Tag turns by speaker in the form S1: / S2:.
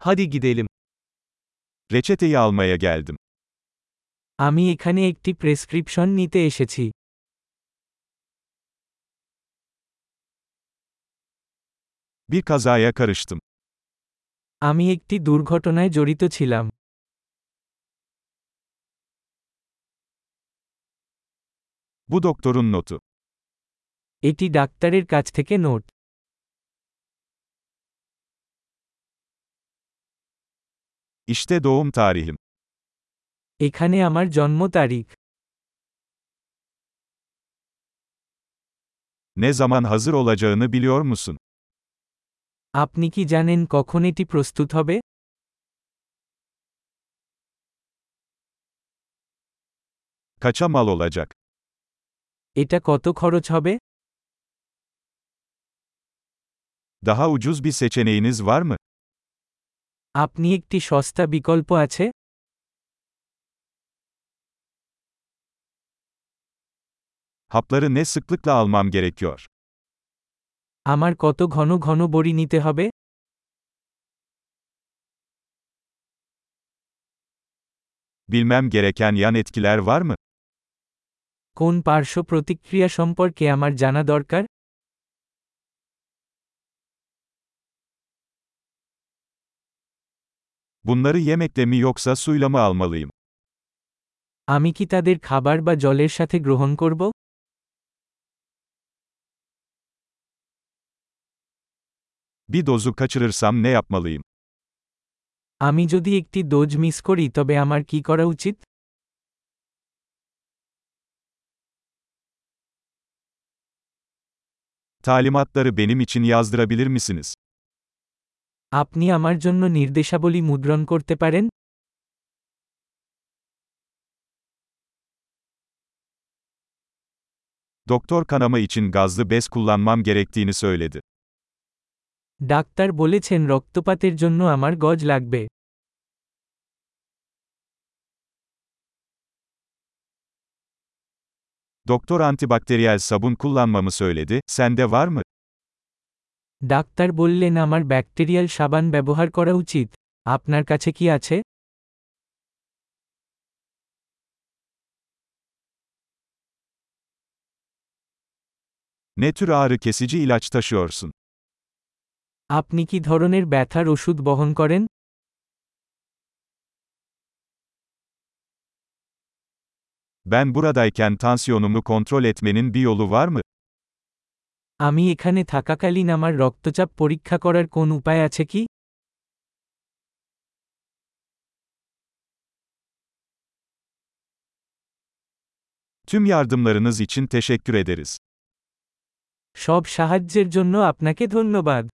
S1: Hadi gidelim.
S2: Reçeteyi almaya geldim.
S1: আমি এখানে একটি প্রেসক্রিপশন নিতে এসেছি
S2: Bir kazaya karıştım.
S1: আমি একটি দুর্ঘটনায় জড়িত ছিলাম
S2: Bu doktorun notu.
S1: এটি ডাক্তারের কাছ থেকে নোট
S2: İşte doğum tarihim.
S1: এখানে আমার জন্ম তারিখ
S2: Ne zaman hazır olacağını biliyor musun?
S1: আপনি কি জানেন কখন এটি প্রস্তুত হবে
S2: Kaça mal olacak?
S1: এটা কত খরচ হবে
S2: Daha ucuz bir seçeneğiniz var mı?
S1: আপনি একটি সস্তা বিকল্প আছে
S2: Hapları ne sıklıkla almam gerekiyor?
S1: আমার কত ঘন ঘন বড়ি নিতে হবে
S2: Bilmem gereken yan etkiler var mı?
S1: কোন পার্শ্ব প্রতিক্রিয়া সম্পর্কে আমার জানা দরকার
S2: Bunları yemekle mi yoksa suyla mı almalıyım?
S1: আমি কি তাদের খাবার বা জলের সাথে গ্রহণ করব
S2: Bir dozu kaçırırsam ne yapmalıyım?
S1: আমি যদি একটি ডোজ মিস করি তবে আমার কি করা উচিত
S2: Talimatları benim için yazdırabilir misiniz?
S1: আপনি আমার জন্য নির্দেশাবলী মুদ্রণ করতে পারেন
S2: Doktor kanama için gazlı bez kullanmam gerektiğini söyledi.
S1: Doctor বলেছেন রক্তপাতের জন্য আমার গজ লাগবে
S2: Doktor antibakteriyel sabun kullanmamı söyledi, sende var mı?
S1: Doctor বললেন আমার ব্যাকটেরিয়াল সাবান ব্যবহার করা উচিত আপনার কাছে কি আছে
S2: Ne tür ağrı kesici ilaç taşıyorsun?
S1: আপনি কি ধরনের ব্যথার ওষুধ বহন করেন
S2: Ben buradayken tansiyonumu kontrol etmenin bir yolu var mı?
S1: আমি এখানে থাকাকালীন আমার রক্তচাপ পরীক্ষা করার কোন উপায় আছে কি
S2: Tüm yardımlarınız için teşekkür ederiz.
S1: সব সাহায্যের জন্য আপনাকে ধন্যবাদ